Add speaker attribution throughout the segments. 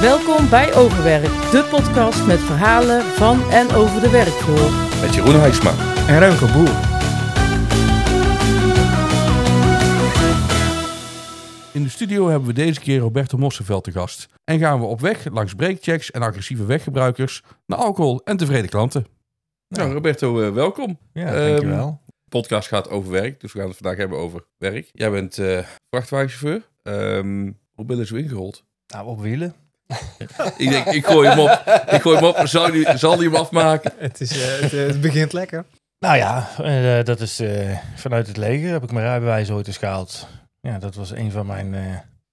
Speaker 1: Welkom bij Overwerk, de podcast met verhalen van en over de werkvloer.
Speaker 2: Met Jeroen Heijsma.
Speaker 3: En Remco Boer.
Speaker 2: In de studio hebben we deze keer Roberto Mossenveld te gast. En gaan we op weg langs breakchecks en agressieve weggebruikers naar alcohol en tevreden klanten. Nou, Roberto, eh, welkom.
Speaker 3: Ja,
Speaker 2: Ehm,
Speaker 3: dankjewel.
Speaker 2: De podcast gaat over werk, dus we gaan het vandaag hebben over werk. Jij bent eh vrachtwagenchauffeur. Ehm, hoe ben je zo ingerold?
Speaker 3: Nou, op wielen.
Speaker 2: ik denk, ik gooi hem op. Ik gooi hem op. Zal die, zal die hem afmaken?
Speaker 3: Het, is,
Speaker 4: eh,
Speaker 3: het, begint lekker.
Speaker 5: Nou ja, eh, dat is eh, vanuit het leger heb ik mijn rijbewijs ooit eens gehaald. Ja, dat was een van mijn, eh,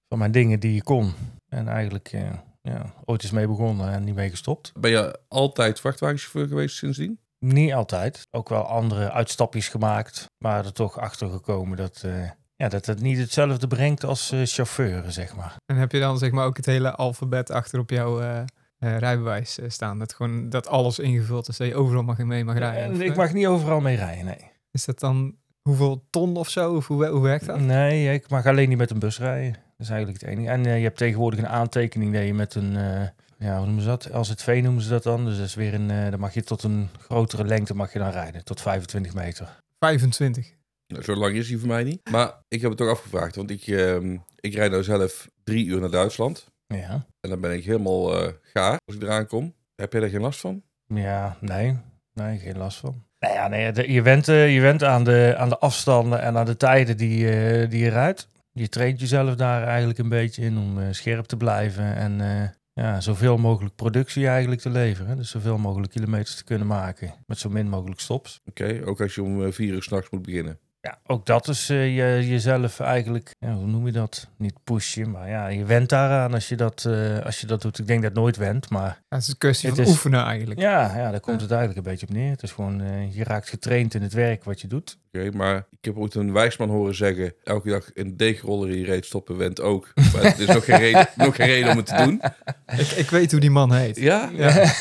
Speaker 5: van mijn dingen die ik kon. En eigenlijk eh, ja, ooit is mee begonnen en niet mee gestopt.
Speaker 2: Ben je altijd vrachtwagenchauffeur geweest sindsdien?
Speaker 5: Niet altijd. Ook wel andere uitstapjes gemaakt. Maar er toch achter gekomen dat, eh, ja, dat het niet hetzelfde brengt als eh chauffeuren, zeg maar.
Speaker 4: En heb je dan zeg maar ook het hele alfabet achter op jouw eh, eh, rijbewijs eh, staan? Dat gewoon dat alles ingevuld is, dat je overal mag mee mag rijden.
Speaker 5: En
Speaker 4: Of,
Speaker 5: ik
Speaker 4: eh,
Speaker 5: mag niet overal mee rijden, nee.
Speaker 4: Is dat dan hoeveel ton of zo? Of hoe, hoe werkt dat?
Speaker 5: Nee, ik mag alleen niet met een bus rijden. Dat is eigenlijk het enige. En eh, je hebt tegenwoordig een aantekening dat je met een, eh, ja, hoe noemen ze dat? LZV noemen ze dat dan. Dus dat is weer een, eh, dan mag je tot een grotere lengte mag je dan rijden, tot 25 meter.
Speaker 4: 25.
Speaker 2: Nou, zo lang is hij voor mij niet. Maar ik heb het toch afgevraagd, want ik, ehm, ik rijd nou zelf drie uur naar Duitsland.
Speaker 5: Ja,
Speaker 2: En dan ben ik helemaal eh, gaar als ik eraan kom. Heb jij daar geen last van?
Speaker 5: ja nee, nee, geen last van. Nou ja, nee, de- je went, eh, je went aan, de, aan de afstanden en aan de tijden die, je- die je rijdt. Je traint jezelf daar eigenlijk een beetje in om eh, scherp te blijven en eh, ja, zoveel mogelijk productie eigenlijk te leveren. Dus zoveel mogelijk kilometers te kunnen maken met zo min mogelijk stops.
Speaker 2: Oké, ook als je om eh, vier uur s'nachts moet beginnen.
Speaker 5: Ja, ook dat is eh, je, jezelf eigenlijk, ja, hoe noem je dat? Niet pushen, maar ja, je went daaraan als je dat, eh, als je dat doet. Ik denk dat het nooit went, maar
Speaker 4: Ja, het is een kwestie
Speaker 5: Het
Speaker 4: van
Speaker 5: is-
Speaker 4: oefenen eigenlijk.
Speaker 5: ja, ja, daar komt het eigenlijk een beetje op neer. Het is gewoon, eh, je raakt getraind in het werk wat je doet.
Speaker 2: Oké, maar ik heb ooit een wijsman horen zeggen... elke dag een deegroller in je reet stoppen went ook. Maar het is nog geen reden, nog geen reden om het te doen.
Speaker 4: Ik, ik weet hoe die man heet.
Speaker 2: Ja?
Speaker 4: Ja.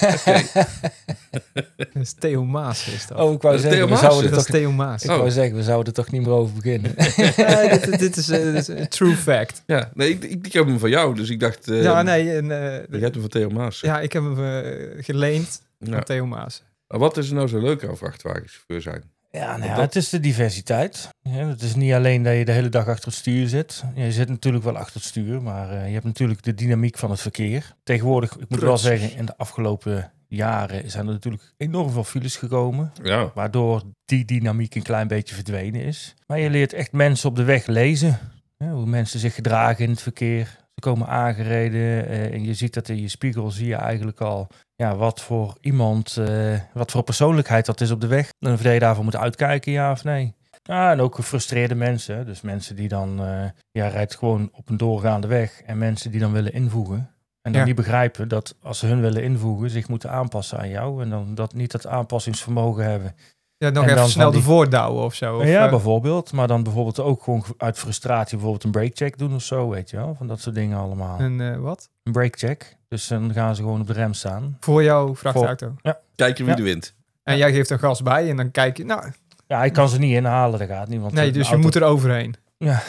Speaker 4: Dat is Theo Maas is dat.
Speaker 5: Oh, ik wou
Speaker 2: Dat is Theo
Speaker 5: zeggen, we
Speaker 2: Maas,
Speaker 5: zouden,
Speaker 4: dat
Speaker 5: er
Speaker 4: is
Speaker 5: toch, ik
Speaker 4: Theo Maas.
Speaker 2: Oh.
Speaker 5: wou zeggen, we zouden er toch niet meer over beginnen.
Speaker 4: Ja, dit, dit is, eh, dit is een true fact.
Speaker 2: Ja, nee, ik, ik, ik heb hem van jou, dus ik dacht... eh,
Speaker 4: ja, nee. En, eh,
Speaker 2: Je hebt hem van Theo Maas.
Speaker 4: ja, ik heb hem eh, geleend
Speaker 2: Ja.
Speaker 4: van Theo Maas.
Speaker 2: Maar Wat is er nou zo leuk aan vrachtwagenchauffeur zijn?
Speaker 5: Ja, nou ja,
Speaker 2: dat-
Speaker 5: het is de diversiteit. Ja, het is niet alleen dat je de hele dag achter het stuur zit. Ja, je zit natuurlijk wel achter het stuur, maar eh, je hebt natuurlijk de dynamiek van het verkeer. Tegenwoordig, ik moet wel
Speaker 4: Trucks.
Speaker 5: zeggen, in de afgelopen jaren zijn er natuurlijk enorm veel files gekomen.
Speaker 2: Ja,
Speaker 5: Waardoor die dynamiek een klein beetje verdwenen is. Maar je leert echt mensen op de weg lezen. Ja, hoe mensen zich gedragen in het verkeer. Ze komen aangereden eh, en je ziet dat in je spiegel zie je eigenlijk al ja, wat voor iemand, eh, wat voor persoonlijkheid dat is op de weg. En of je daarvoor moet uitkijken, ja of nee. Ja, en ook gefrustreerde mensen. hè. Dus mensen die dan, eh ja, rijdt gewoon op een doorgaande weg. En mensen die dan willen invoegen. En dan
Speaker 4: Ja.
Speaker 5: niet begrijpen dat als ze hun willen invoegen, zich moeten aanpassen aan jou. En dan dat, niet dat aanpassingsvermogen hebben.
Speaker 4: Ja, nog
Speaker 5: En dan
Speaker 4: even
Speaker 5: van
Speaker 4: snel
Speaker 5: die-
Speaker 4: de voordouwen of zo. Of,
Speaker 5: ja,
Speaker 4: eh,
Speaker 5: bijvoorbeeld. Maar dan bijvoorbeeld ook gewoon uit frustratie bijvoorbeeld een breakcheck doen of zo, weet je wel. Van dat soort dingen allemaal.
Speaker 4: een eh, wat?
Speaker 5: Een breakcheck. Dus dan gaan ze gewoon op de rem staan.
Speaker 4: Voor jouw vrachtauto.
Speaker 2: kijken wie de
Speaker 5: Ja.
Speaker 2: wint.
Speaker 4: En jij geeft een gas bij en dan kijk je... Nou,
Speaker 5: Ja, hij kan ze niet inhalen, dat gaat niet. Want eh,
Speaker 4: nee,
Speaker 5: de
Speaker 4: dus je
Speaker 5: auto-
Speaker 4: moet er overheen.
Speaker 5: Ja.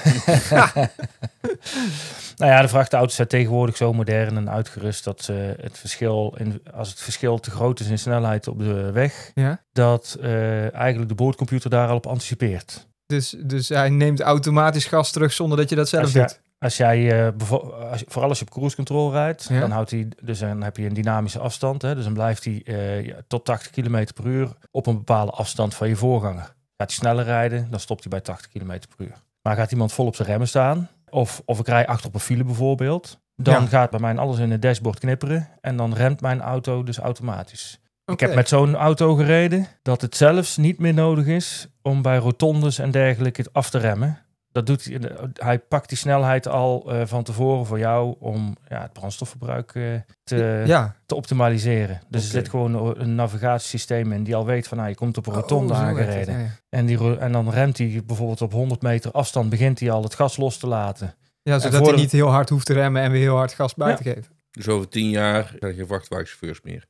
Speaker 5: nou ja, de vrachtauto's zijn tegenwoordig zo modern en uitgerust dat ze het verschil, in, als het verschil te groot is in snelheid op de weg,
Speaker 4: Ja.
Speaker 5: dat eh, eigenlijk de boordcomputer daar al op anticipeert.
Speaker 4: Dus, dus hij neemt automatisch gas terug zonder dat je dat zelf
Speaker 5: Als jij-
Speaker 4: doet.
Speaker 5: Als jij, eh, bevo- als je- vooral als je op cruise control rijdt,
Speaker 4: Ja.
Speaker 5: dan, houdt hij, dus dan heb je een dynamische afstand. Hè, dus dan blijft hij eh, ja, tot 80 km per uur op een bepaalde afstand van je voorganger. Gaat hij sneller rijden, dan stopt hij bij 80 km per uur. Maar gaat iemand vol op zijn remmen staan, of, of ik rij achter op een file bijvoorbeeld, dan
Speaker 4: Ja.
Speaker 5: gaat bij mij alles in het dashboard knipperen en dan remt mijn auto dus automatisch. Ik heb
Speaker 4: Oké.
Speaker 5: met zo'n auto gereden dat het zelfs niet meer nodig is om bij rotondes en dergelijke het af te remmen. Dat doet hij, hij pakt die snelheid al eh, van tevoren voor jou om ja, het brandstofverbruik eh, te,
Speaker 4: Ja,
Speaker 5: te optimaliseren. Dus
Speaker 2: Oké.
Speaker 5: er zit gewoon een navigatiesysteem in die al weet van nou, je komt op een rotonde
Speaker 4: Oh, zo werkt het,
Speaker 5: aangereden.
Speaker 4: ja, ja.
Speaker 5: En, die, ro- en dan remt hij bijvoorbeeld op 100 meter afstand, begint hij al het gas los te laten.
Speaker 4: Ja, zodat
Speaker 5: voor
Speaker 4: hij
Speaker 5: de-
Speaker 4: niet heel hard hoeft te remmen en weer heel hard gas bij
Speaker 5: Ja.
Speaker 4: te geven.
Speaker 2: Dus over tien jaar zijn er geen vrachtwagenchauffeurs meer.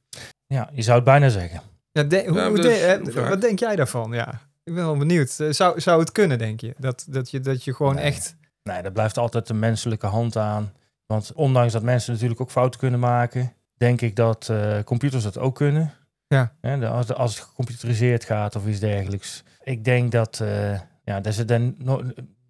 Speaker 5: Ja, je zou het bijna zeggen.
Speaker 4: Ja, de- hoe,
Speaker 2: maar
Speaker 4: hoe
Speaker 2: dat is
Speaker 4: de-
Speaker 2: een
Speaker 4: eh,
Speaker 2: vraag.
Speaker 4: wat denk jij daarvan? Ja, ik ben wel benieuwd. Eh, Zou, zou het kunnen, denk je? Dat, dat, je, dat je gewoon
Speaker 5: Nee.
Speaker 4: echt...
Speaker 5: Nee, daar blijft altijd de menselijke hand aan. Want ondanks dat mensen natuurlijk ook fouten kunnen maken, denk ik dat eh, computers dat ook kunnen.
Speaker 4: Ja.
Speaker 5: Hè, de- als, de- als het gecomputeriseerd gaat of iets dergelijks. Ik denk dat, eh, ja, dat ze dan no-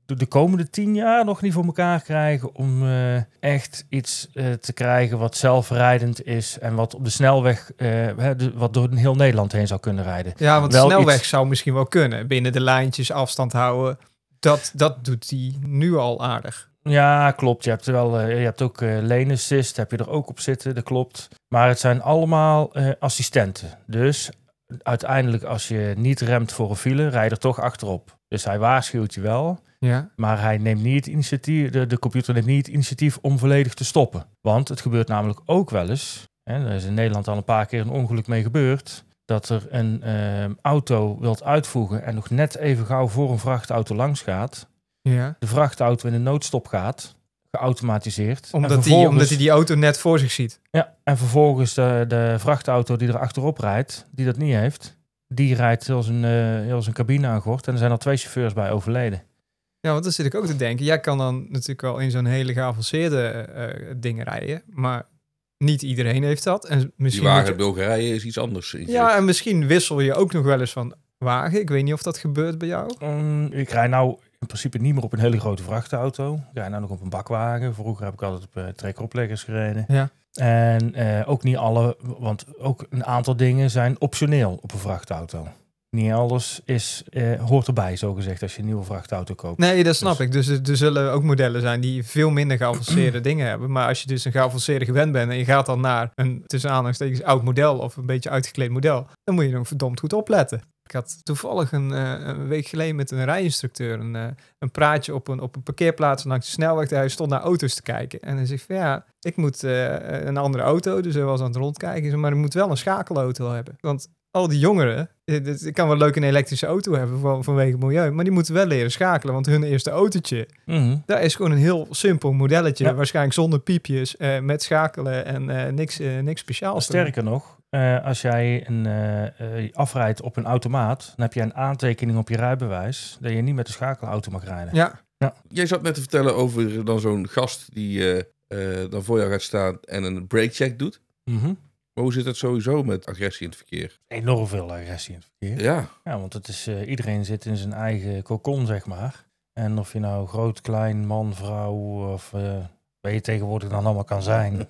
Speaker 5: de, de komende tien jaar nog niet voor elkaar krijgen om eh, echt iets eh, te krijgen wat zelfrijdend is en wat op de snelweg, eh, hè, de- wat door heel Nederland heen zou kunnen rijden.
Speaker 4: Ja, want
Speaker 5: Wel
Speaker 4: snelweg
Speaker 5: iets-
Speaker 4: zou misschien wel kunnen. Binnen de lijntjes afstand houden. Dat, dat doet hij nu al aardig.
Speaker 5: Ja, klopt. Je hebt, wel, eh, je hebt ook eh lane assist, heb je er ook op zitten, dat klopt. Maar het zijn allemaal eh, assistenten. Dus uiteindelijk als je niet remt voor een file, rij je er toch achterop. Dus hij waarschuwt je wel,
Speaker 4: Ja.
Speaker 5: maar hij neemt niet het initiatief, de, de computer neemt niet het initiatief om volledig te stoppen. Want het gebeurt namelijk ook wel eens, hè, er is in Nederland al een paar keer een ongeluk mee gebeurd, dat er een eh, auto wilt uitvoegen en nog net even gauw voor een vrachtauto langs gaat
Speaker 4: ja.
Speaker 5: de vrachtauto in de noodstop gaat, geautomatiseerd. en
Speaker 4: Omdat, hij,
Speaker 5: vervolgens-
Speaker 4: omdat hij die auto net voor zich ziet.
Speaker 5: Ja, en vervolgens de, de vrachtauto die er achterop rijdt, die dat niet heeft, die rijdt heel zijn, eh, heel zijn cabine aangort. En er zijn al twee chauffeurs bij overleden.
Speaker 4: Ja, want dan zit ik ook te denken. Jij kan dan natuurlijk wel in zo'n hele geavanceerde eh, dingen rijden. Maar niet iedereen heeft dat. En
Speaker 2: Die
Speaker 4: misschien moet
Speaker 2: wagen
Speaker 4: je-
Speaker 2: in Bulgarije is iets anders. Iets-
Speaker 4: Ja, en misschien wissel je ook nog wel eens van wagen. Ik weet niet of dat gebeurt bij jou.
Speaker 5: Mm, ik rij nou in principe niet meer op een hele grote vrachtauto. Ik rij nou nog op een bakwagen. Vroeger heb ik altijd op eh, trekkeropleggers gereden.
Speaker 4: Ja.
Speaker 5: En eh, ook niet alle, want ook een aantal dingen zijn optioneel op een vrachtauto. Niet alles is, eh, hoort erbij, zogezegd, als je een nieuwe vrachtauto koopt.
Speaker 4: Nee, dat snap ik. Dus er, er zullen ook modellen zijn die veel minder geavanceerde dingen hebben. Maar als je dus een geavanceerde gewend bent en je gaat dan naar een tussen aanhalingstekens oud model of een beetje uitgekleed model, dan moet je nog verdomd goed opletten. Ik had toevallig een, eh, een week geleden met een rijinstructeur een, eh, een praatje op een, op een parkeerplaats langs de snelweg. Hij stond naar auto's te kijken. En hij zegt van ja, ik moet eh, een andere auto. Dus hij was aan het rondkijken. Hij zei, Maar ik moet wel een schakelauto hebben. Want al die jongeren, eh, dit- ik kan wel leuk een elektrische auto hebben van, vanwege het milieu, maar die moeten wel leren schakelen, want hun eerste autootje,
Speaker 5: Mhm.
Speaker 4: dat is gewoon een heel simpel modelletje,
Speaker 5: Ja.
Speaker 4: waarschijnlijk zonder piepjes, eh, met schakelen en eh, niks, eh, niks speciaals.
Speaker 5: Sterker nog, eh, als jij een, eh, eh, afrijdt op een automaat, dan heb je een aantekening op je rijbewijs dat je niet met de schakelauto mag rijden.
Speaker 4: Ja,
Speaker 2: Jij zat net te vertellen over eh, dan zo'n gast die eh, eh, dan voor jou gaat staan en een breakcheck doet.
Speaker 5: Mhm.
Speaker 2: Maar hoe zit dat sowieso met agressie in het verkeer?
Speaker 5: Enorm veel agressie in het verkeer.
Speaker 2: Ja,
Speaker 5: Ja, want het is, eh, iedereen zit in zijn eigen cocon, zeg maar. En of je nou groot, klein, man, vrouw of eh wat je tegenwoordig dan allemaal kan zijn.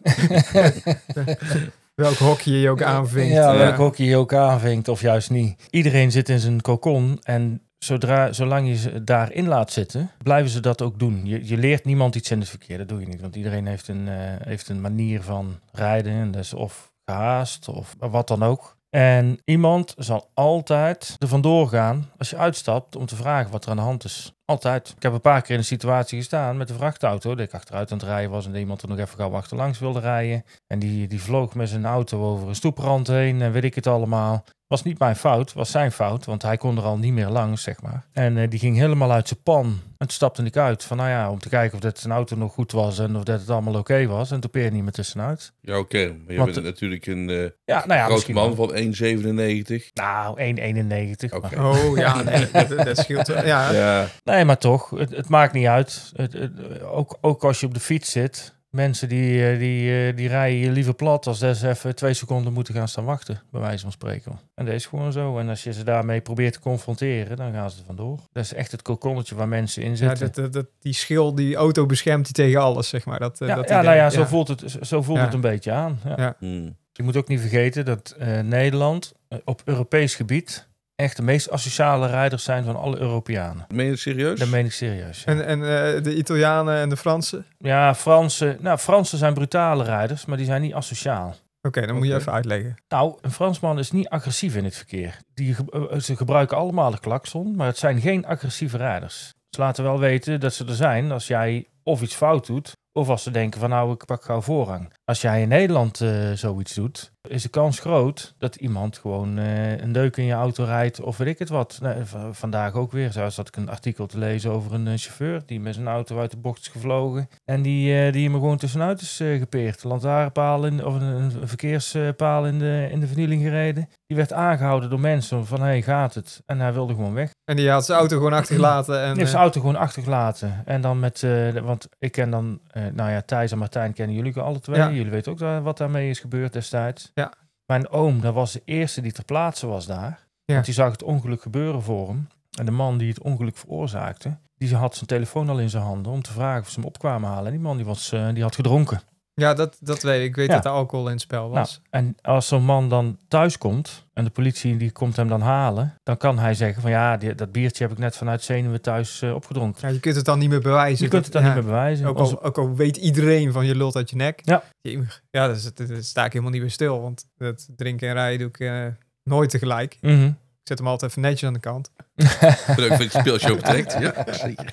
Speaker 4: welk hokje je ook eh. aanvinkt.
Speaker 5: Ja,
Speaker 2: Ja.
Speaker 5: welk hokje je ook aanvinkt of juist niet. Iedereen zit in zijn cocon en zodra, zolang je ze daarin laat zitten, blijven ze dat ook doen. Je, je leert niemand iets in het verkeer, dat doe je niet. Want iedereen heeft een, eh, heeft een manier van rijden en dat is of gehaast of wat dan ook. En iemand zal altijd er vandoor gaan als je uitstapt om te vragen wat er aan de hand is. Altijd. Ik heb een paar keer in een situatie gestaan met een vrachtauto. Dat ik achteruit aan het rijden was en dat iemand er nog even gauw achterlangs wilde rijden. En die, die vloog met zijn auto over een stoeprand heen en weet ik het allemaal. Was niet mijn fout, was zijn fout, want hij kon er al niet meer langs, zeg maar. En eh, die ging helemaal uit zijn pan. En toen stapte ik uit van, nou ja, om te kijken of dat zijn auto nog goed was en of dat het allemaal oké was. En toen peerde niet meer tussenuit.
Speaker 2: jouw kern. Maar je
Speaker 5: Want
Speaker 2: bent natuurlijk een eh
Speaker 5: Ja, nou ja,
Speaker 2: groot
Speaker 5: misschien
Speaker 2: man
Speaker 5: wel.
Speaker 2: van 1,97.
Speaker 5: Nou, 1,91.
Speaker 2: Oké.
Speaker 5: maar-
Speaker 4: Oh ja, nee, dat, dat scheelt wel. Ja.
Speaker 2: Ja,
Speaker 5: Nee, maar toch, het, het maakt niet uit. Het, het- ook, ook als je op de fiets zit. Mensen die, eh, die, eh, die rijden je liever plat als dat ze even twee seconden moeten gaan staan wachten, bij wijze van spreken. En dat is gewoon zo. En als je ze daarmee probeert te confronteren, dan gaan ze er vandoor. Dat is echt het kokonnetje waar mensen in
Speaker 4: Ja,
Speaker 5: zitten.
Speaker 4: dat, dat, dat- die schil, die auto beschermt die tegen alles, zeg maar. Dat, eh,
Speaker 5: Ja,
Speaker 4: dat
Speaker 5: ja,
Speaker 4: idee.
Speaker 5: nou ja, zo voelt het, zo voelt
Speaker 4: Ja.
Speaker 5: het een beetje aan. Ja.
Speaker 2: Hm.
Speaker 5: Je moet ook niet vergeten dat eh, Nederland eh, op Europees gebied echt de meest asociale rijders zijn van alle Europeanen.
Speaker 2: Meen je het serieus?
Speaker 5: Dat meen ik serieus. ja.
Speaker 4: En, en eh, de Italianen en de Fransen. Oké,
Speaker 5: Ja, Fransen. Nou, Fransen zijn brutale rijders, maar die zijn niet asociaal.
Speaker 4: dan moet je
Speaker 2: Oké.
Speaker 4: even uitleggen.
Speaker 5: Nou, een Fransman is niet agressief in het verkeer. Die, ge- eh, ze gebruiken allemaal de klakson, maar het zijn geen agressieve rijders. Ze laten wel weten dat ze er zijn als jij of iets fout doet, of als ze denken van nou, ik pak gauw voorrang. Als jij in Nederland eh, zoiets doet, is de kans groot dat iemand gewoon eh, een deuk in je auto rijdt of weet ik het wat. Nou, v- vandaag ook weer. Zo zat ik een artikel te lezen over een eh, chauffeur die met zijn auto uit de bocht is gevlogen. En die, eh, die hem er gewoon tussenuit is eh, gepeerd. Een lantaarnpaal in, of een, een verkeerspaal in de, in de vernieling gereden. Die werd aangehouden door mensen van hey, gaat het? En hij wilde gewoon weg.
Speaker 4: En die had zijn auto gewoon achtergelaten. En,
Speaker 5: Die heeft
Speaker 4: eh,
Speaker 5: zijn auto gewoon achtergelaten. En dan met, eh, de- want ik ken dan, eh, nou ja, Thijs en Martijn kennen jullie alle twee.
Speaker 4: Ja.
Speaker 5: Jullie weten ook daar, wat daarmee is gebeurd destijds.
Speaker 4: Ja.
Speaker 5: Mijn oom, dat was de eerste die ter plaatse was daar.
Speaker 4: Ja.
Speaker 5: Want die zag het ongeluk gebeuren voor hem. En de man die het ongeluk veroorzaakte, die had zijn telefoon al in zijn handen om te vragen of ze hem op kwamen halen. En die man die, was, eh, die had gedronken.
Speaker 4: ja, dat, dat weet ik. Ik weet
Speaker 5: Ja.
Speaker 4: dat er alcohol in het spel
Speaker 5: Nou,
Speaker 4: was.
Speaker 5: en als zo'n man dan thuis komt en de politie die komt hem dan halen, dan kan hij zeggen van ja, die- dat biertje heb ik net vanuit zenuwen thuis eh, opgedronken.
Speaker 4: Ja, je kunt het dan niet meer bewijzen.
Speaker 5: Je kunt het dan
Speaker 4: ja.
Speaker 5: niet meer bewijzen.
Speaker 4: Ook
Speaker 5: Onze-
Speaker 4: al, ook al weet iedereen van je lult uit je nek.
Speaker 5: Ja.
Speaker 4: Jemig. Ja, daar dus, daar sta ik helemaal niet meer stil. Want dat drinken en rijden doe ik eh, nooit tegelijk.
Speaker 5: Mhm.
Speaker 4: Ik zet hem altijd even netjes aan de kant.
Speaker 2: Leuk dat je het speeltje ook trekt. Ja, zeker.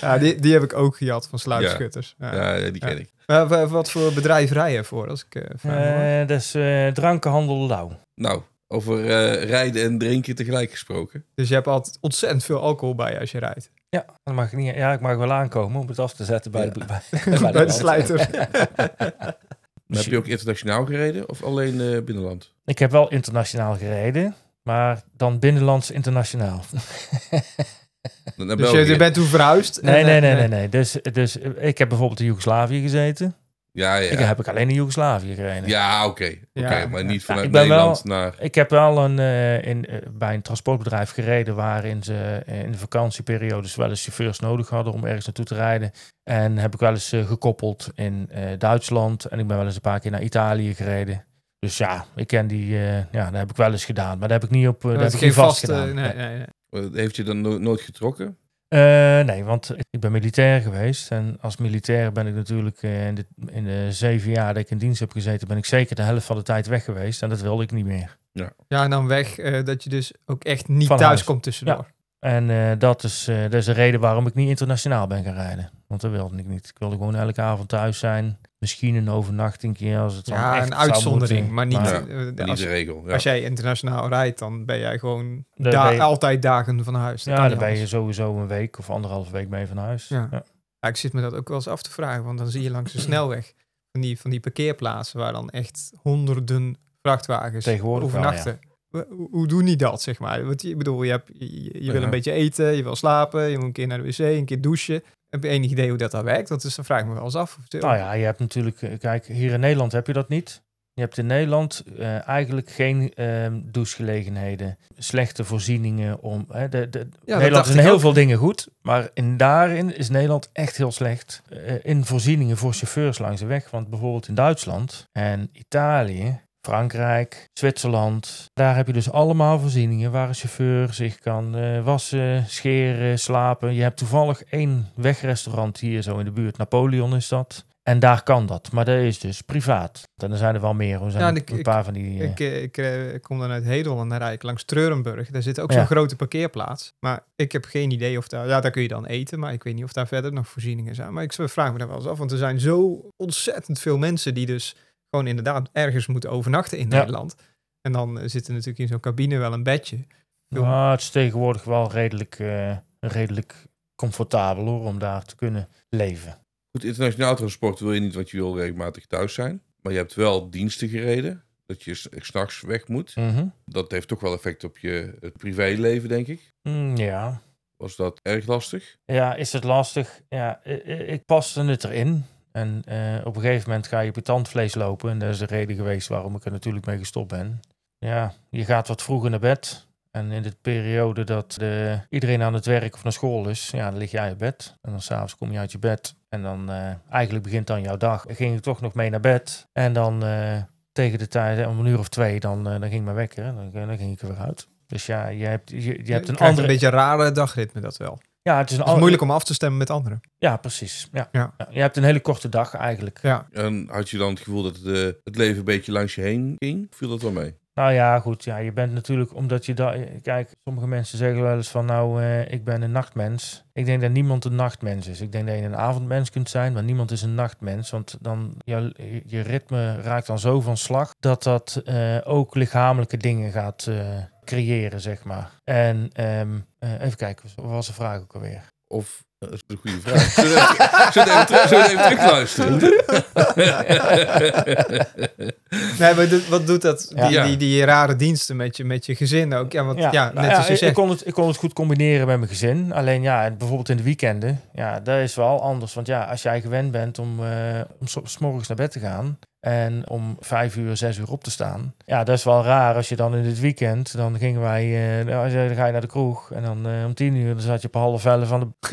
Speaker 4: Ja, die, die heb ik ook gehad van sluipschutters. Ja.
Speaker 2: Ja, ja, die ken ik.
Speaker 4: Maar wa- wat voor bedrijf rij je voor? Als ik, eh, vraag mag?
Speaker 5: Eh, dat is eh, drankenhandel Lauw.
Speaker 2: Nou, over eh, rijden en drinken tegelijk gesproken.
Speaker 4: Dus je hebt altijd ontzettend veel alcohol bij je als je rijdt.
Speaker 5: Ja, dat mag ik niet, ja, ik mag wel aankomen om het af te zetten bij, de, bij,
Speaker 4: Bij de slijter.
Speaker 2: Maar heb je ook internationaal gereden of alleen eh, binnenland?
Speaker 5: Ik heb wel internationaal gereden, maar dan binnenlands internationaal.
Speaker 2: Na- Naar
Speaker 4: Dus je,
Speaker 2: België.
Speaker 4: je bent toen verhuisd.
Speaker 5: Nee,
Speaker 4: en,
Speaker 5: nee,
Speaker 4: eh,
Speaker 5: nee, nee. nee. Dus, dus ik heb bijvoorbeeld in Joegoslavië gezeten.
Speaker 2: Ja, ja.
Speaker 5: Ik heb ik alleen in Joegoslavië gereden.
Speaker 2: Ja, oké. Oké,
Speaker 4: Ja,
Speaker 2: maar
Speaker 4: ja.
Speaker 2: niet vanuit
Speaker 5: ik ben
Speaker 2: Nederland naar...
Speaker 5: Ik heb wel een, eh, in, eh, bij een transportbedrijf gereden waarin ze eh, in de vakantieperiodes wel eens chauffeurs nodig hadden om ergens naartoe te rijden. En heb ik wel eens eh, gekoppeld in eh, Duitsland en ik ben wel eens een paar keer naar Italië gereden. Dus ja, ik ken die, eh, ja, dat heb ik wel eens gedaan, maar dat heb ik niet op, eh,
Speaker 4: Dat
Speaker 5: dat heb
Speaker 4: is
Speaker 5: ik
Speaker 4: geen
Speaker 5: niet vast
Speaker 4: vaste.
Speaker 5: gedaan.
Speaker 4: nee,
Speaker 5: nee.
Speaker 4: nee, nee.
Speaker 2: Eh, Heeft je dan no- nooit getrokken?
Speaker 5: Eh, nee, want ik ben militair geweest en als militair ben ik natuurlijk eh, in, de, in de zeven jaar dat ik in dienst heb gezeten, ben ik zeker de helft van de tijd weg geweest en dat wilde ik niet meer.
Speaker 4: Ja, en dan weg eh, dat je dus ook echt niet
Speaker 5: Van
Speaker 4: thuis
Speaker 5: huis.
Speaker 4: komt tussendoor.
Speaker 5: En eh, dat, is, eh, dat is de reden waarom ik niet internationaal ben gaan rijden. Want dat wilde ik niet. Ik wilde gewoon elke avond thuis zijn. Misschien een overnachting keer als het
Speaker 4: Ja,
Speaker 5: dan echt
Speaker 4: een
Speaker 5: zou
Speaker 4: uitzondering.
Speaker 5: moeten.
Speaker 4: Maar niet,
Speaker 2: Maar-
Speaker 4: eh,
Speaker 2: Ja,
Speaker 4: als,
Speaker 2: niet de regel. Ja.
Speaker 4: als jij internationaal rijdt, dan ben jij gewoon
Speaker 5: Dan
Speaker 4: da-
Speaker 5: ben je-
Speaker 4: altijd dagen van huis. Dat kan
Speaker 5: ja, dan
Speaker 4: niet
Speaker 5: ben je
Speaker 4: anders.
Speaker 5: sowieso een week of anderhalve week mee van huis.
Speaker 4: Ja.
Speaker 5: Ja.
Speaker 4: Ja, ik zit me dat ook wel eens af te vragen, want dan zie je langs de snelweg van die, van die parkeerplaatsen waar dan echt honderden vrachtwagens
Speaker 5: Tegenwoordig wel,
Speaker 4: overnachten. Wa- Hoe hoe doen die dat, zeg maar? Want je- ik bedoel, je, hebt, je, je wil
Speaker 2: Ja.
Speaker 4: een beetje eten, je wil slapen, je moet een keer naar de wc, een keer douchen. Heb je enig idee hoe dat dan werkt? Want dus dan vraag ik me wel eens af. Of-
Speaker 5: Nou ja, je hebt natuurlijk... eh, Kijk, hier in Nederland heb je dat niet. Je hebt in Nederland eh, eigenlijk geen ehm, douchegelegenheden. Slechte voorzieningen om... Hè, de, de, Nederland
Speaker 4: dacht
Speaker 5: is in
Speaker 4: ik
Speaker 5: heel
Speaker 4: ook.
Speaker 5: veel dingen goed. Maar in daarin is Nederland echt heel slecht. eh, in voorzieningen voor chauffeurs langs de weg. Want bijvoorbeeld in Duitsland en Italië, Frankrijk, Zwitserland. Daar heb je dus allemaal voorzieningen waar een chauffeur zich kan eh, wassen, scheren, slapen. Je hebt toevallig één wegrestaurant hier zo in de buurt. Napoleon is dat. En daar kan dat. Maar dat is dus privaat. En er zijn er wel meer. Er zijn
Speaker 4: Ja, en ik-
Speaker 5: een
Speaker 4: ik-
Speaker 5: paar van die... eh,
Speaker 4: Ik, eh, ik eh, kom dan uit Hedel en dan rijd ik langs Treurenburg. Daar zit ook
Speaker 5: Ja.
Speaker 4: zo'n grote parkeerplaats. Maar ik heb geen idee of daar... Ja, daar kun je dan eten, maar ik weet niet of daar verder nog voorzieningen zijn. Maar ik vraag me daar wel eens af, want er zijn zo ontzettend veel mensen... die dus gewoon inderdaad ergens moeten overnachten in
Speaker 5: Ja.
Speaker 4: Nederland. En dan eh, zit er natuurlijk in zo'n cabine wel een bedje. Veel-
Speaker 5: Ja, Nou, het is tegenwoordig wel redelijk, eh, redelijk comfortabel hoor, om daar te kunnen leven.
Speaker 2: Goed, internationaal transport wil je niet, want je wil regelmatig thuis zijn. Maar je hebt wel diensten gereden. Dat je s- s'nachts weg moet.
Speaker 5: Mhm.
Speaker 2: Dat heeft toch wel effect op je het privéleven, denk ik.
Speaker 5: Mm, ja.
Speaker 2: Was dat erg lastig?
Speaker 5: ja, is het lastig? Ja, i- i- ik paste het erin. En eh, op een gegeven moment ga je op je tandvlees lopen. En dat is de reden geweest waarom ik er natuurlijk mee gestopt ben. Ja, je gaat wat vroeger naar bed. En in de periode dat eh, iedereen aan het werk of naar school is, ja, dan lig jij op bed. En dan s'avonds kom je uit je bed. En dan eh, eigenlijk begint dan jouw dag. Ging ik toch nog mee naar bed. En dan eh, tegen de tijd, om een uur of twee, dan, eh, dan ging mijn wekker. En Dan, dan ging ik er weer uit. Dus ja, je hebt, je, je hebt een
Speaker 4: krijgt
Speaker 5: andere... Oh, eh,
Speaker 4: een beetje een rare dagritme, dat wel.
Speaker 5: ja, het is een
Speaker 4: Het is
Speaker 5: andere-
Speaker 4: moeilijk om af te stemmen met anderen.
Speaker 5: ja, precies. Ja.
Speaker 4: Ja.
Speaker 5: Ja. Je hebt een hele korte dag eigenlijk.
Speaker 4: Ja.
Speaker 2: En had je dan het gevoel dat het, eh, het leven een beetje langs je heen ging? Viel dat wel mee?
Speaker 5: Nou ja, goed. Ja, je bent natuurlijk, omdat je daar... Kijk, sommige mensen zeggen wel eens van, nou, eh, ik ben een nachtmens. Ik denk dat niemand een nachtmens is. Ik denk dat je een avondmens kunt zijn, maar niemand is een nachtmens. Want dan, jouw- je ritme raakt dan zo van slag dat dat eh, ook lichamelijke dingen gaat eh, creëren, zeg maar. En ehm, eh, even kijken, wat was de vraag ook alweer?
Speaker 2: Of, dat is een goede vraag. Zullen we even- zullen we even, terug- zullen we even terugluisteren?
Speaker 4: Nee, maar dit- wat doet dat? Die,
Speaker 2: Ja.
Speaker 4: die, die rare diensten met je, met je gezin ook. Ja, want ja,
Speaker 5: nou
Speaker 4: net als
Speaker 5: ja,
Speaker 4: je
Speaker 5: ik, ik
Speaker 4: zegt.
Speaker 5: kon het, ik kon het goed combineren met mijn gezin. Alleen ja, en bijvoorbeeld in de weekenden, ja, dat is wel anders. Want ja, als jij gewend bent om, eh om s- s morgens naar bed te gaan en om vijf uur, zes uur op te staan. Ja, dat is wel raar als je dan in het weekend, dan gingen wij, eh, nou, dan ga je naar de kroeg en dan eh, om tien uur, dan zat je op half elf aan de,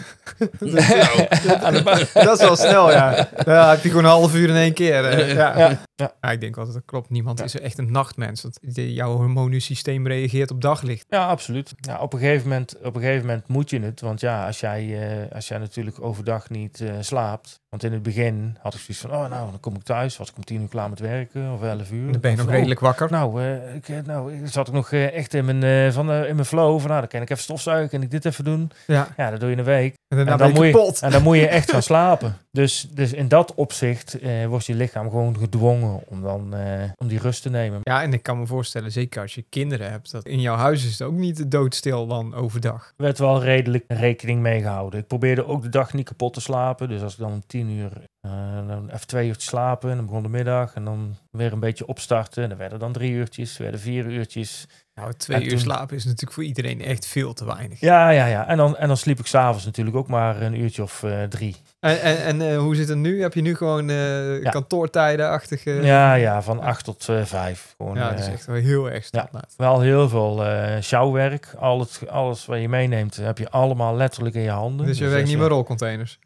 Speaker 2: Nou,
Speaker 5: aan de bar.
Speaker 4: Dat is wel snel, ja. Dan heb je gewoon een half uur in één keer. eh, Ja.
Speaker 5: Ja, ja.
Speaker 4: Maar ik denk altijd, dat klopt. Niemand is echt een nachtmens. Want die- jouw hormonisch systeem reageert op daglicht.
Speaker 5: Ja, absoluut. Ja, op, een gegeven moment, op een gegeven moment moet je het. Want ja, als jij, eh, als jij natuurlijk overdag niet eh, slaapt. Want in het begin had ik zoiets van: oh, nou, dan kom ik thuis. Was ik om tien uur klaar met werken of elf uur.
Speaker 4: Dan ben je
Speaker 5: Of,
Speaker 4: nog
Speaker 5: oh,
Speaker 4: redelijk wakker.
Speaker 5: nou, eh, ik, eh, nou, ik zat ik nog eh, echt in mijn, eh, van, eh, in mijn flow. Van, nou, dan kan ik even stofzuigen. Kan ik dit even doen?
Speaker 4: Ja.
Speaker 5: Ja, dat doe je een week.
Speaker 4: En daarna
Speaker 5: En
Speaker 4: ben
Speaker 5: dan,
Speaker 4: je
Speaker 5: moet je,
Speaker 4: kapot.
Speaker 5: en dan moet je echt gaan slapen. Dus, dus in dat opzicht eh, wordt je lichaam gewoon gedwongen om, dan, eh, om die rust te nemen.
Speaker 4: Ja, en ik kan me voorstellen, zeker als je kinderen hebt, dat in jouw huis is het ook niet doodstil dan overdag.
Speaker 5: werd wel redelijk rekening mee gehouden. Ik probeerde ook de dag niet kapot te slapen. Dus als ik dan om tien uur eh, dan even twee uurtjes slapen en dan begon de middag en dan weer een beetje opstarten. En dan werden dan drie uurtjes, werden vier uurtjes.
Speaker 4: Nou, twee
Speaker 5: En
Speaker 4: uur
Speaker 5: toen-
Speaker 4: slapen is natuurlijk voor iedereen echt veel te weinig.
Speaker 5: Ja, ja, ja. En dan, en dan sliep ik s'avonds natuurlijk ook maar een uurtje of eh, drie.
Speaker 4: En, en, en eh, hoe zit het nu? Heb je nu gewoon eh
Speaker 5: Ja.
Speaker 4: kantoortijden-achtige...
Speaker 5: ja, ja, van acht tot eh, vijf. Gewoon,
Speaker 4: Ja, dat is
Speaker 5: eh,
Speaker 4: echt wel heel erg
Speaker 5: ja.
Speaker 4: standaard.
Speaker 5: Wel heel veel eh sjouwwerk. Al het, alles wat je meeneemt heb je allemaal letterlijk in je handen.
Speaker 4: Dus je werkt
Speaker 5: als
Speaker 4: niet met rolcontainers.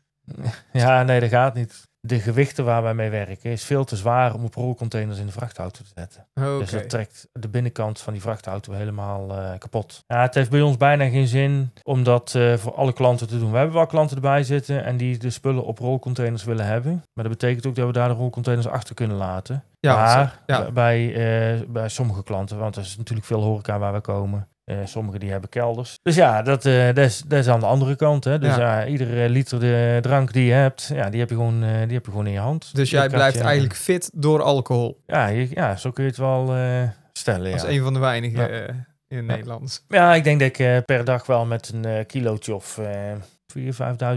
Speaker 5: Ja, nee, dat gaat niet. De gewichten waar wij mee werken is veel te zwaar om op rolcontainers in de vrachtauto te zetten.
Speaker 4: Oké.
Speaker 5: Dus dat trekt de binnenkant van die vrachtauto helemaal eh, kapot. Ja, het heeft bij ons bijna geen zin om dat eh, voor alle klanten te doen. We hebben wel klanten erbij zitten en die de spullen op rolcontainers willen hebben. Maar dat betekent ook dat we daar de rolcontainers achter kunnen laten.
Speaker 4: ja, want-
Speaker 5: maar
Speaker 4: ja.
Speaker 5: b- bij, eh, bij sommige klanten, want er is natuurlijk veel horeca waar we komen. Eh sommigen die hebben kelders. Dus ja, dat, eh, dat, is, dat is aan de andere kant. Hè. Dus ja. iedere liter de drank die je hebt, ja, die, heb je gewoon, eh, die heb je gewoon in je hand.
Speaker 4: Dus
Speaker 5: Je
Speaker 4: jij
Speaker 5: kan
Speaker 4: blijft
Speaker 5: je-
Speaker 4: eigenlijk fit door alcohol.
Speaker 5: Ja, je- ja, zo kun je het wel eh, stellen.
Speaker 4: Als
Speaker 5: ja.
Speaker 4: een van de weinigen
Speaker 5: Ja.
Speaker 4: eh, in
Speaker 5: Ja.
Speaker 4: Nederland.
Speaker 5: Ja, ik denk dat ik eh, per dag wel met een eh kilootje of eh 4.000,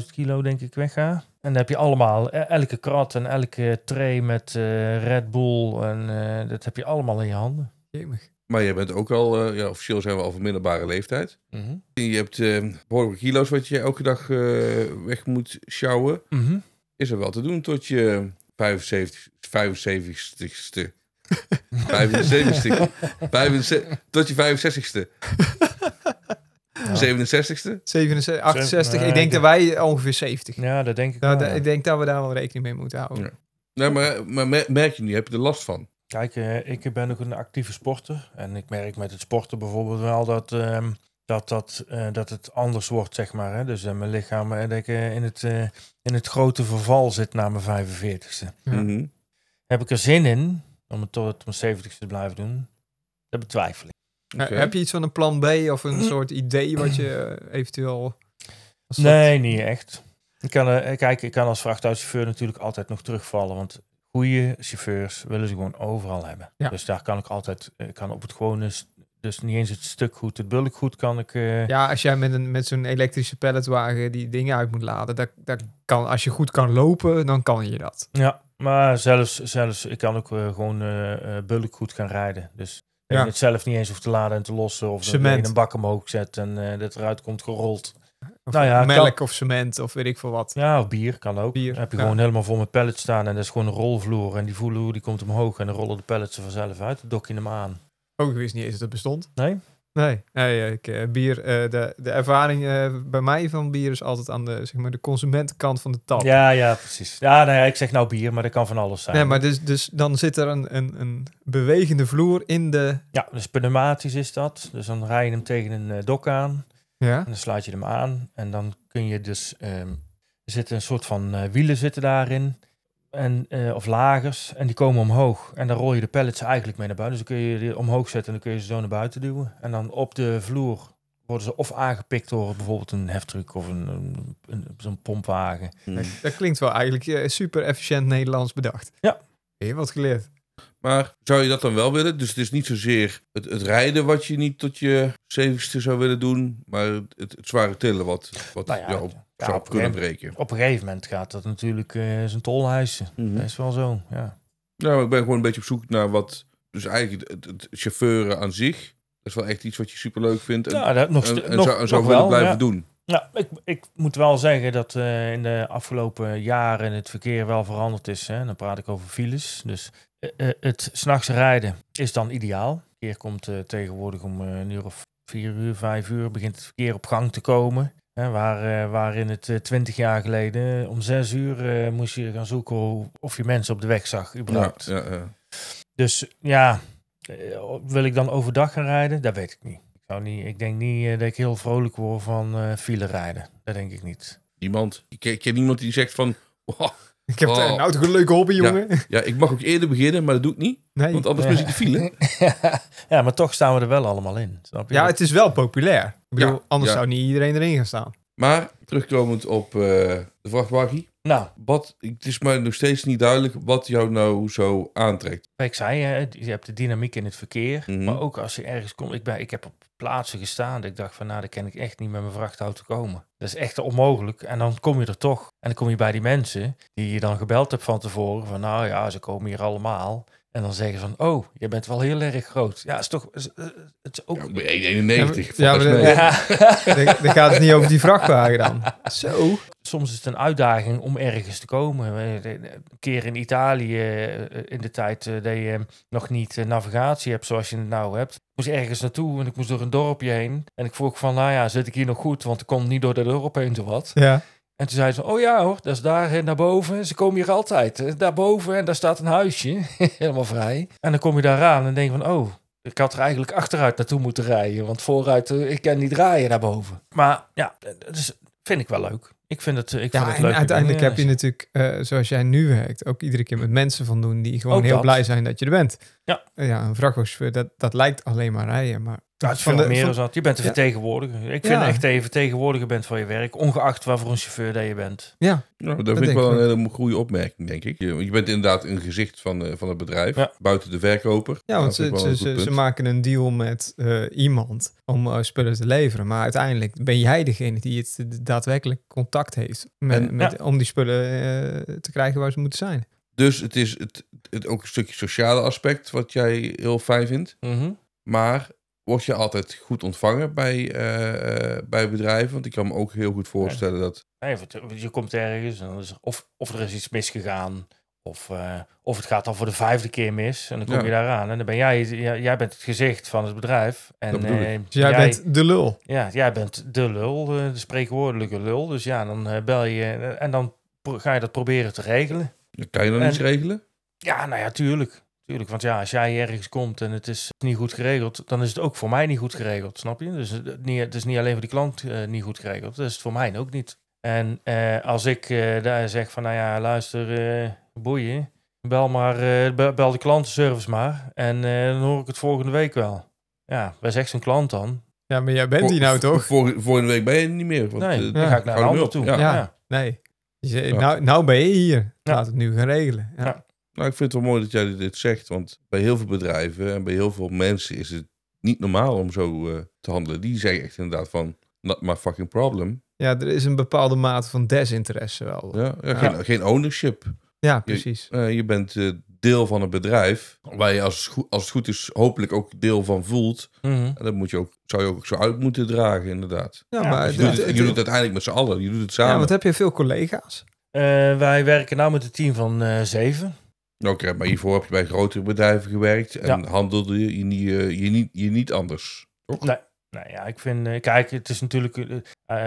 Speaker 5: 5.000 kilo denk ik wegga. En dan heb je allemaal, eh, elke krat en elke tray met eh, Red Bull. En eh, dat heb je allemaal in je handen.
Speaker 4: Jemig.
Speaker 2: Maar je bent ook al, eh, ja, officieel zijn we al van middelbare leeftijd.
Speaker 4: Mhm.
Speaker 2: Je hebt eh behoorlijke kilo's wat je elke dag eh, weg moet sjouwen.
Speaker 5: Mhm.
Speaker 2: Is er wel te doen tot je 75, 75ste. 75ste. 75, tot je 65ste. 67ste.
Speaker 4: 67, 68.
Speaker 5: Nee,
Speaker 4: ik denk
Speaker 5: ik-
Speaker 4: dat wij ongeveer 70.
Speaker 5: Ja, dat denk ik
Speaker 4: Nou,
Speaker 5: wel,
Speaker 4: da-
Speaker 5: ja.
Speaker 4: Ik denk dat we daar wel rekening mee moeten houden.
Speaker 2: Ja. Nee, Nou, maar, maar mer- merk je nu, heb je er last van?
Speaker 5: Kijk, eh, ik ben ook een actieve sporter. En ik merk met het sporten bijvoorbeeld wel dat, ehm, dat, dat, eh, dat het anders wordt, zeg maar. Hè? Dus eh, mijn lichaam eh, dat ik, eh, in, het, eh, in het grote verval zit na mijn 45ste.
Speaker 4: Ja.
Speaker 2: Mhm.
Speaker 5: Heb ik er zin in om het tot mijn 70 te blijven doen? Dat betwijfel ik.
Speaker 4: Eh,
Speaker 2: Oké.
Speaker 4: Heb je iets van een plan B of een soort idee wat je eh, eventueel... als dat-
Speaker 5: Nee, niet echt. Ik kan, eh, kijk, ik kan als vrachtautochauffeur natuurlijk altijd nog terugvallen. Want goede chauffeurs willen ze gewoon overal hebben.
Speaker 4: Ja.
Speaker 5: Dus daar kan ik altijd, ik kan op het gewone, s- dus niet eens het stuk goed, het bulk goed kan ik. eh,
Speaker 4: Ja, als jij met, een, met zo'n elektrische palletwagen die dingen uit moet laden, dat, dat kan, als je goed kan lopen, dan kan je dat.
Speaker 5: Ja, maar zelfs, zelfs ik kan ook eh, gewoon eh eh, bulk goed gaan rijden. Dus dat
Speaker 4: Ja.
Speaker 5: je het zelf niet eens hoeft te laden en te lossen. Of dat je
Speaker 4: Cement.
Speaker 5: in een bak omhoog zet en eh, dat eruit komt gerold.
Speaker 4: Of
Speaker 5: Nou ja,
Speaker 4: melk of cement of weet ik veel wat.
Speaker 5: Ja, of bier kan ook.
Speaker 4: Bier,
Speaker 5: Dan heb je
Speaker 4: ja.
Speaker 5: gewoon helemaal vol met pallets staan en dat is gewoon een rolvloer. En die vloer die komt omhoog en dan rollen de pallets er vanzelf uit. Dan dok je hem aan.
Speaker 4: Ook ik wist niet eens dat het bestond.
Speaker 5: Nee?
Speaker 4: Nee, nee ik, eh, bier, eh, de, de ervaring eh, bij mij van bier is altijd aan de, zeg maar, de consumentenkant van de tap.
Speaker 5: Ja, ja, precies. Ja, nou ja, ik zeg nou bier, maar dat kan van alles zijn.
Speaker 4: Nee, maar dus, dus dan zit er een, een, een bewegende vloer in de...
Speaker 5: Ja, dus pneumatisch is dat. Dus dan rij je hem tegen een eh, dok aan.
Speaker 4: Ja,
Speaker 5: En dan sluit je hem aan en dan kun je dus... ehm, er zitten een soort van eh, wielen zitten daarin. En, eh, of lagers. En die komen omhoog. En dan rol je de pallets eigenlijk mee naar buiten. Dus dan kun je die omhoog zetten en dan kun je ze zo naar buiten duwen. En dan op de vloer worden ze of aangepikt door bijvoorbeeld een heftruck of een, een, een- zo'n pompwagen.
Speaker 2: Mhm.
Speaker 4: Dat klinkt wel eigenlijk eh, super efficiënt Nederlands bedacht.
Speaker 5: Ja.
Speaker 4: Heb je wat geleerd?
Speaker 2: Maar zou je dat dan wel willen? Dus het is niet zozeer het, het rijden wat je niet tot je zevenste zou willen doen, maar het, het zware tillen wat, wat
Speaker 5: Nou ja,
Speaker 2: jou
Speaker 5: ja,
Speaker 2: zou
Speaker 5: op een
Speaker 2: kunnen
Speaker 5: gegeven-
Speaker 2: breken.
Speaker 5: Op een gegeven moment gaat dat natuurlijk eh zijn tol hijsen.
Speaker 2: Hm. Mhm.
Speaker 5: Dat is wel zo, ja.
Speaker 2: Nou, maar ik ben gewoon een beetje op zoek naar wat, dus eigenlijk het, het, het chauffeuren aan zich, dat is wel echt iets wat je superleuk vindt en,
Speaker 5: ja dat, nog,
Speaker 2: en,
Speaker 5: st-
Speaker 2: Eh, en
Speaker 5: nog,
Speaker 2: zou, en zou
Speaker 5: nog
Speaker 2: willen
Speaker 5: wel,
Speaker 2: blijven
Speaker 5: ja.
Speaker 2: doen.
Speaker 5: Ja, Nou, ik, ik moet wel zeggen dat eh, in de afgelopen jaren het verkeer wel veranderd is. Hè. Dan praat ik over files. Dus eh, eh, het s'nachts rijden is dan ideaal. Het verkeer komt eh, tegenwoordig om eh, een uur of vier uur, vijf uur begint het verkeer op gang te komen. Hè, waar, eh, waarin het twintig jaar geleden eh, om zes uur eh, moest je gaan zoeken hoe- of je mensen op de weg zag
Speaker 2: Ja,
Speaker 5: überhaupt.
Speaker 2: ja, ja.
Speaker 5: Dus ja, eh, wil ik dan overdag gaan rijden? Dat weet ik niet. Ik, zou niet, ik denk niet eh, dat ik heel vrolijk word van eh file rijden. Dat denk ik niet.
Speaker 2: Niemand, ik ken, ik ken niemand die zegt van, "Wow,
Speaker 4: Ik heb
Speaker 2: Oh.
Speaker 4: daar nou toch een leuke hobby, jongen?
Speaker 2: ja, ik mag ook eerder beginnen, maar dat doe ik niet,
Speaker 4: Nee.
Speaker 2: want anders mis ik de file.
Speaker 5: ja, maar toch staan we er wel allemaal in. Snap je?
Speaker 4: Ja, het is wel populair. Ik bedoel,
Speaker 2: Ja,
Speaker 4: anders
Speaker 2: ja.
Speaker 4: zou niet iedereen erin gaan staan.
Speaker 2: Maar terugkomend op eh, de vrachtwagen.
Speaker 5: Nou,
Speaker 2: Wat, het is mij nog steeds niet duidelijk wat jou nou zo aantrekt.
Speaker 5: wat ik zei, hè, je hebt de dynamiek in het verkeer.
Speaker 2: Mhm.
Speaker 5: Maar ook als je ergens komt. Ik, ben, ik heb op plaatsen gestaan dat ik dacht van nou, daar ken ik echt niet met mijn vrachtauto komen. Dat is echt onmogelijk. En dan kom je er toch. En dan kom je bij die mensen die je dan gebeld hebt van tevoren. Van nou ja, ze komen hier allemaal. En dan zeggen ze van, oh, je bent wel heel erg groot. Ja, is toch, is- eh, het is ook...
Speaker 2: Ja, ik ben 91.
Speaker 4: Ja, maar-
Speaker 2: volgens mij.
Speaker 4: ja,
Speaker 5: Ja.
Speaker 4: Dan dan gaat het niet over die vrachtwagen dan. Zo.
Speaker 5: Soms is het een uitdaging om ergens te komen. Eh, eh, Een keer in Italië, eh, in de tijd eh, dat je eh, nog niet eh, navigatie hebt zoals je het nou hebt. Ik moest ergens naartoe en ik moest door een dorpje heen. En ik vroeg van, nou ja, zit ik hier nog goed? Want ik kon niet door dat dorp heen, zo wat.
Speaker 4: Ja.
Speaker 5: En toen zei ze, oh ja hoor, dat is daar eh, naar boven. Ze komen hier altijd. Eh, Daarboven en daar staat een huisje. Helemaal vrij. En dan kom je daar aan en denk van, oh, ik had er eigenlijk achteruit naartoe moeten rijden. Want vooruit, eh, ik kan niet draaien daarboven. Maar ja, eh, dat is, vind ik wel leuk. Ik vind het, eh, ik vind
Speaker 4: Ja,
Speaker 5: het
Speaker 4: en
Speaker 5: leuk.
Speaker 4: uiteindelijk
Speaker 5: Ja,
Speaker 4: heb je natuurlijk, eh, zoals jij nu werkt, ook iedere keer met mensen van doen die gewoon
Speaker 5: Ook
Speaker 4: heel
Speaker 5: dat.
Speaker 4: blij zijn dat je er bent.
Speaker 5: Ja.
Speaker 4: Eh, Ja, een vrachtwagenchauffeur, dat, dat lijkt alleen maar rijden, maar...
Speaker 5: Ja, het is
Speaker 4: van
Speaker 5: veel
Speaker 4: de-
Speaker 5: meer
Speaker 4: van-
Speaker 5: dan dat. Je bent de
Speaker 4: Ja.
Speaker 5: vertegenwoordiger. Ik
Speaker 4: Ja.
Speaker 5: vind echt dat je vertegenwoordiger bent van je werk. Ongeacht waarvoor een chauffeur dat je bent.
Speaker 4: Ja,
Speaker 2: Ja, Nou, dat,
Speaker 4: dat
Speaker 2: vind ik
Speaker 4: denk
Speaker 2: wel
Speaker 4: ik
Speaker 2: een hele goede opmerking, denk ik. Je, je bent inderdaad een gezicht van, eh, van het bedrijf,
Speaker 5: Ja.
Speaker 2: buiten de verkoper.
Speaker 4: ja
Speaker 2: Dat vind
Speaker 4: want ze,
Speaker 2: ik wel
Speaker 4: ze,
Speaker 2: een
Speaker 4: ze,
Speaker 2: goed
Speaker 4: ze
Speaker 2: punt.
Speaker 4: maken een deal met eh, iemand om eh, spullen te leveren. Maar uiteindelijk ben jij degene die het daadwerkelijk contact heeft met,
Speaker 2: En-
Speaker 4: met, om die spullen eh, te krijgen waar ze moeten zijn.
Speaker 2: Dus het is het, het, ook een stukje sociale aspect wat jij heel fijn vindt.
Speaker 4: Mhm.
Speaker 2: Maar word je altijd goed ontvangen bij, eh, eh, bij bedrijven? Want ik kan me ook heel goed voorstellen dat...
Speaker 5: Nee, want, eh, je komt ergens en dan is er- of, of er is iets misgegaan. Of, eh, of het gaat al voor de vijfde keer mis. En dan kom
Speaker 2: Ja.
Speaker 5: je daaraan. En dan ben jij, jij, jij bent het gezicht van het bedrijf. En
Speaker 2: Dat bedoel ik.
Speaker 5: eh,
Speaker 4: Dus jij, bent de lul.
Speaker 5: ja, jij bent de lul, eh, de spreekwoordelijke lul. Dus ja, dan eh, bel je eh, en dan pro- ga je dat proberen te regelen.
Speaker 2: Kan je dan
Speaker 5: En-
Speaker 2: iets regelen?
Speaker 5: Ja, nou ja, tuurlijk. Tuurlijk, want ja, als jij ergens komt en het is niet goed geregeld, dan is het ook voor mij niet goed geregeld, snap je? Dus het, niet- het is niet alleen voor die klant eh, niet goed geregeld, dat is het voor mij ook niet. En eh, als ik eh, daar zeg van, nou ja, luister, eh, boeien, bel, maar, eh, be- bel de klantenservice maar en eh, dan hoor ik het volgende week wel. Ja, wij zegt zo'n klant dan,
Speaker 4: Ja, maar jij bent die nou
Speaker 2: Vor-
Speaker 4: toch?
Speaker 2: vor- vorige week ben je niet meer. Want,
Speaker 5: nee,
Speaker 2: eh,
Speaker 5: dan ga ik naar een
Speaker 2: hou hem
Speaker 5: ander
Speaker 2: op,
Speaker 5: toe.
Speaker 2: ja.
Speaker 4: Ja. Nee. Je zegt, nou, nou ben je hier.
Speaker 5: Ja.
Speaker 4: Laat het nu gaan regelen. Ja.
Speaker 5: Ja.
Speaker 2: Nou, ik vind het wel mooi dat jij dit zegt, want bij heel veel bedrijven en bij heel veel mensen is het niet normaal om zo eh, te handelen. Die zeggen echt inderdaad van, not my fucking problem.
Speaker 4: Ja, er is een bepaalde mate van desinteresse wel. Ja,
Speaker 2: Ja, ja, geen, geen ownership.
Speaker 4: precies.
Speaker 2: Eh, je bent eh, deel van een bedrijf waar je als, het goe- als het goed is hopelijk ook deel van voelt.
Speaker 5: Mhm.
Speaker 2: En dat moet je ook, zou je ook zo uit moeten dragen, inderdaad.
Speaker 4: Ja,
Speaker 5: Ja,
Speaker 4: maar
Speaker 5: dus
Speaker 2: Je
Speaker 4: het-
Speaker 2: doet het,
Speaker 4: het-
Speaker 2: je doet het uiteindelijk met z'n allen, je doet het
Speaker 4: ja,
Speaker 2: samen.
Speaker 4: want heb je veel collega's?
Speaker 5: Eh, wij werken nou met een team van eh, zeven.
Speaker 2: Oké, maar hiervoor Nou, heb je bij grotere bedrijven gewerkt en
Speaker 5: Ja.
Speaker 2: handelde je, je, niet, eh, je, niet, je niet anders.
Speaker 5: Nee. Nou ja, ik vind, eh, kijk, het is natuurlijk eh,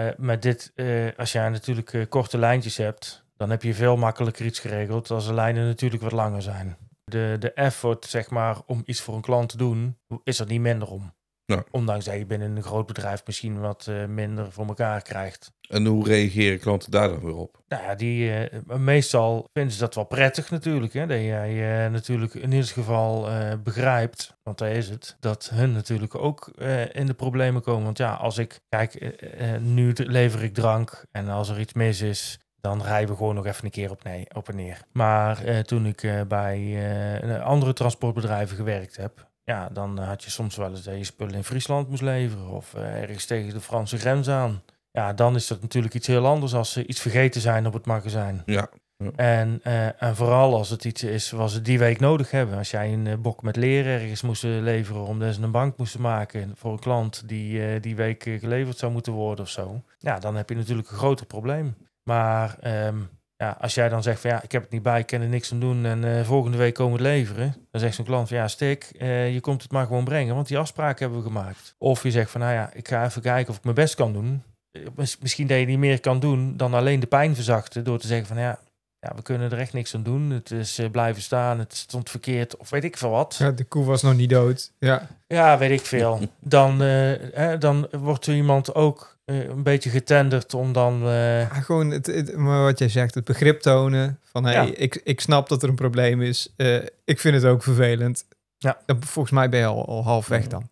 Speaker 5: eh, met dit, eh, als jij natuurlijk eh, korte lijntjes hebt, dan heb je veel makkelijker iets geregeld als de lijnen natuurlijk wat langer zijn. De, de effort, zeg maar, om iets voor een klant te doen, is er niet minder om.
Speaker 2: Ja.
Speaker 5: Ondanks dat je binnen een groot bedrijf misschien wat eh, minder voor elkaar krijgt.
Speaker 2: En hoe reageren klanten daar dan weer op?
Speaker 5: Nou ja, die, eh, maar meestal vinden ze dat wel prettig natuurlijk. Hè? Dat jij eh, natuurlijk in ieder geval eh, begrijpt, want daar is het, dat hun natuurlijk ook eh, in de problemen komen. Want ja, als ik, kijk, eh, eh, nu d- lever ik drank en als er iets mis is, dan rijden we gewoon nog even een keer op, nee, op en neer. Maar eh, toen ik eh, bij eh, andere transportbedrijven gewerkt heb, ja, dan had je soms wel eens dat je spullen in Friesland moest leveren of eh, ergens tegen de Franse grens aan. Ja, dan is dat natuurlijk iets heel anders als ze iets vergeten zijn op het magazijn.
Speaker 2: Ja.
Speaker 5: En, eh, en vooral als het iets is wat ze die week nodig hebben. Als jij een eh, bok met leren ergens moest eh, leveren omdat ze een bank moesten maken voor een klant die eh, die week eh, geleverd zou moeten worden of zo. Ja, dan heb je natuurlijk een groter probleem. Maar ehm, ja, als jij dan zegt van ja, ik heb het niet bij, ik kan er niks aan doen en eh, volgende week komen we het leveren. Dan zegt zo'n klant van ja, stik, eh, je komt het maar gewoon brengen, want die afspraak hebben we gemaakt. Of je zegt van nou ja, ik ga even kijken of ik mijn best kan doen. Eh, mis- Misschien dat je niet meer kan doen dan alleen de pijn verzachten door te zeggen van ja, ja, we kunnen er echt niks aan doen. Het is eh, blijven staan, het stond verkeerd of weet ik veel wat.
Speaker 4: Ja, de koe was nog niet dood. Ja.
Speaker 5: Ja, weet ik veel. Dan, eh, hè, dan wordt zo iemand ook eh, een beetje getenderd om dan... eh,
Speaker 4: Ja, gewoon het, het- maar wat jij zegt, het begrip tonen van hey,
Speaker 5: Ja.
Speaker 4: ik, ik snap dat er een probleem is. Eh, ik vind het ook vervelend.
Speaker 5: Ja.
Speaker 4: Dan, volgens mij ben je al, al half weg dan.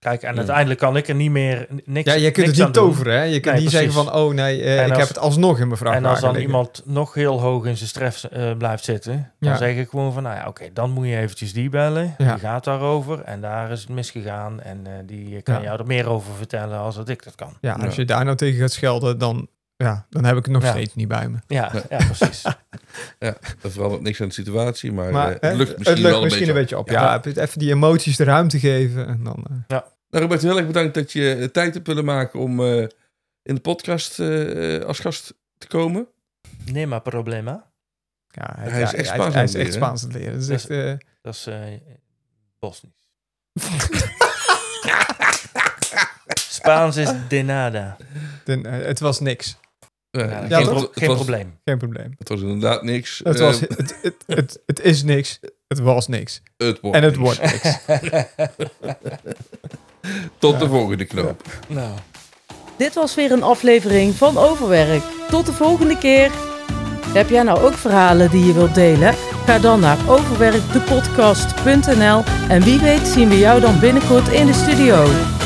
Speaker 5: kijk, en
Speaker 2: Ja.
Speaker 5: uiteindelijk kan ik er niet meer n- niks
Speaker 4: Ja, je kunt
Speaker 5: niks
Speaker 4: het niet
Speaker 5: aan doen.
Speaker 4: toveren. Hè? Je kunt
Speaker 5: Nee,
Speaker 4: niet zeggen
Speaker 5: precies.
Speaker 4: van, oh nee, eh,
Speaker 5: En
Speaker 4: ik
Speaker 5: als-
Speaker 4: heb het alsnog in mijn vrachtwagen
Speaker 5: En als dan
Speaker 4: liggen.
Speaker 5: iemand nog heel hoog in zijn stress eh, blijft zitten, dan
Speaker 4: Ja.
Speaker 5: zeg ik gewoon van, nou ja, oké, dan moet je eventjes die bellen.
Speaker 4: Ja.
Speaker 5: Die gaat daarover en daar is het misgegaan. En eh, die kan
Speaker 4: Ja.
Speaker 5: jou er meer over vertellen als dat ik dat kan.
Speaker 4: Ja, als
Speaker 2: Ja.
Speaker 4: je daar nou tegen gaat schelden, dan, ja, dan heb ik het nog
Speaker 5: Ja.
Speaker 4: steeds niet bij me.
Speaker 5: Ja, ja precies.
Speaker 2: Dat verandert niks aan de situatie, maar,
Speaker 4: Maar
Speaker 2: eh,
Speaker 4: eh,
Speaker 2: het lukt misschien wel een beetje. op.
Speaker 4: op.
Speaker 5: Ja.
Speaker 4: Ja, even die emoties de ruimte geven. En dan, eh,
Speaker 2: Nou, Robert, heel erg bedankt dat je eh, tijd hebt willen maken om eh, in de podcast eh, als gast te komen.
Speaker 5: Nee, maar problema.
Speaker 4: ja,
Speaker 2: Hij is
Speaker 4: ja,
Speaker 2: echt Spaans
Speaker 4: hij,
Speaker 2: aan
Speaker 4: hij
Speaker 2: het
Speaker 4: is echt
Speaker 2: leren, hè?
Speaker 4: Spaans aan het leren. Dat is
Speaker 5: Dus-
Speaker 4: echt, eh,
Speaker 5: Dat is eh Bosnisch. Spaans is de nada.
Speaker 4: dan, eh, het was niks.
Speaker 2: Eh,
Speaker 5: Ja,
Speaker 2: het was-
Speaker 5: geen pro-
Speaker 2: het
Speaker 5: geen
Speaker 2: was-
Speaker 5: probleem.
Speaker 4: Geen probleem.
Speaker 2: Het was inderdaad niks.
Speaker 4: Het,
Speaker 2: Eh,
Speaker 4: was, het, het, het, het is niks. Het was niks.
Speaker 2: het wordt
Speaker 4: En het
Speaker 2: niks.
Speaker 4: wordt niks.
Speaker 2: Tot de volgende knoop.
Speaker 5: nou.
Speaker 1: Dit was weer een aflevering van Overwerk. Tot de volgende keer. Heb jij nou ook verhalen die je wilt delen? Ga dan naar overwerkdepodcast.nl en wie weet zien we jou dan binnenkort in de studio.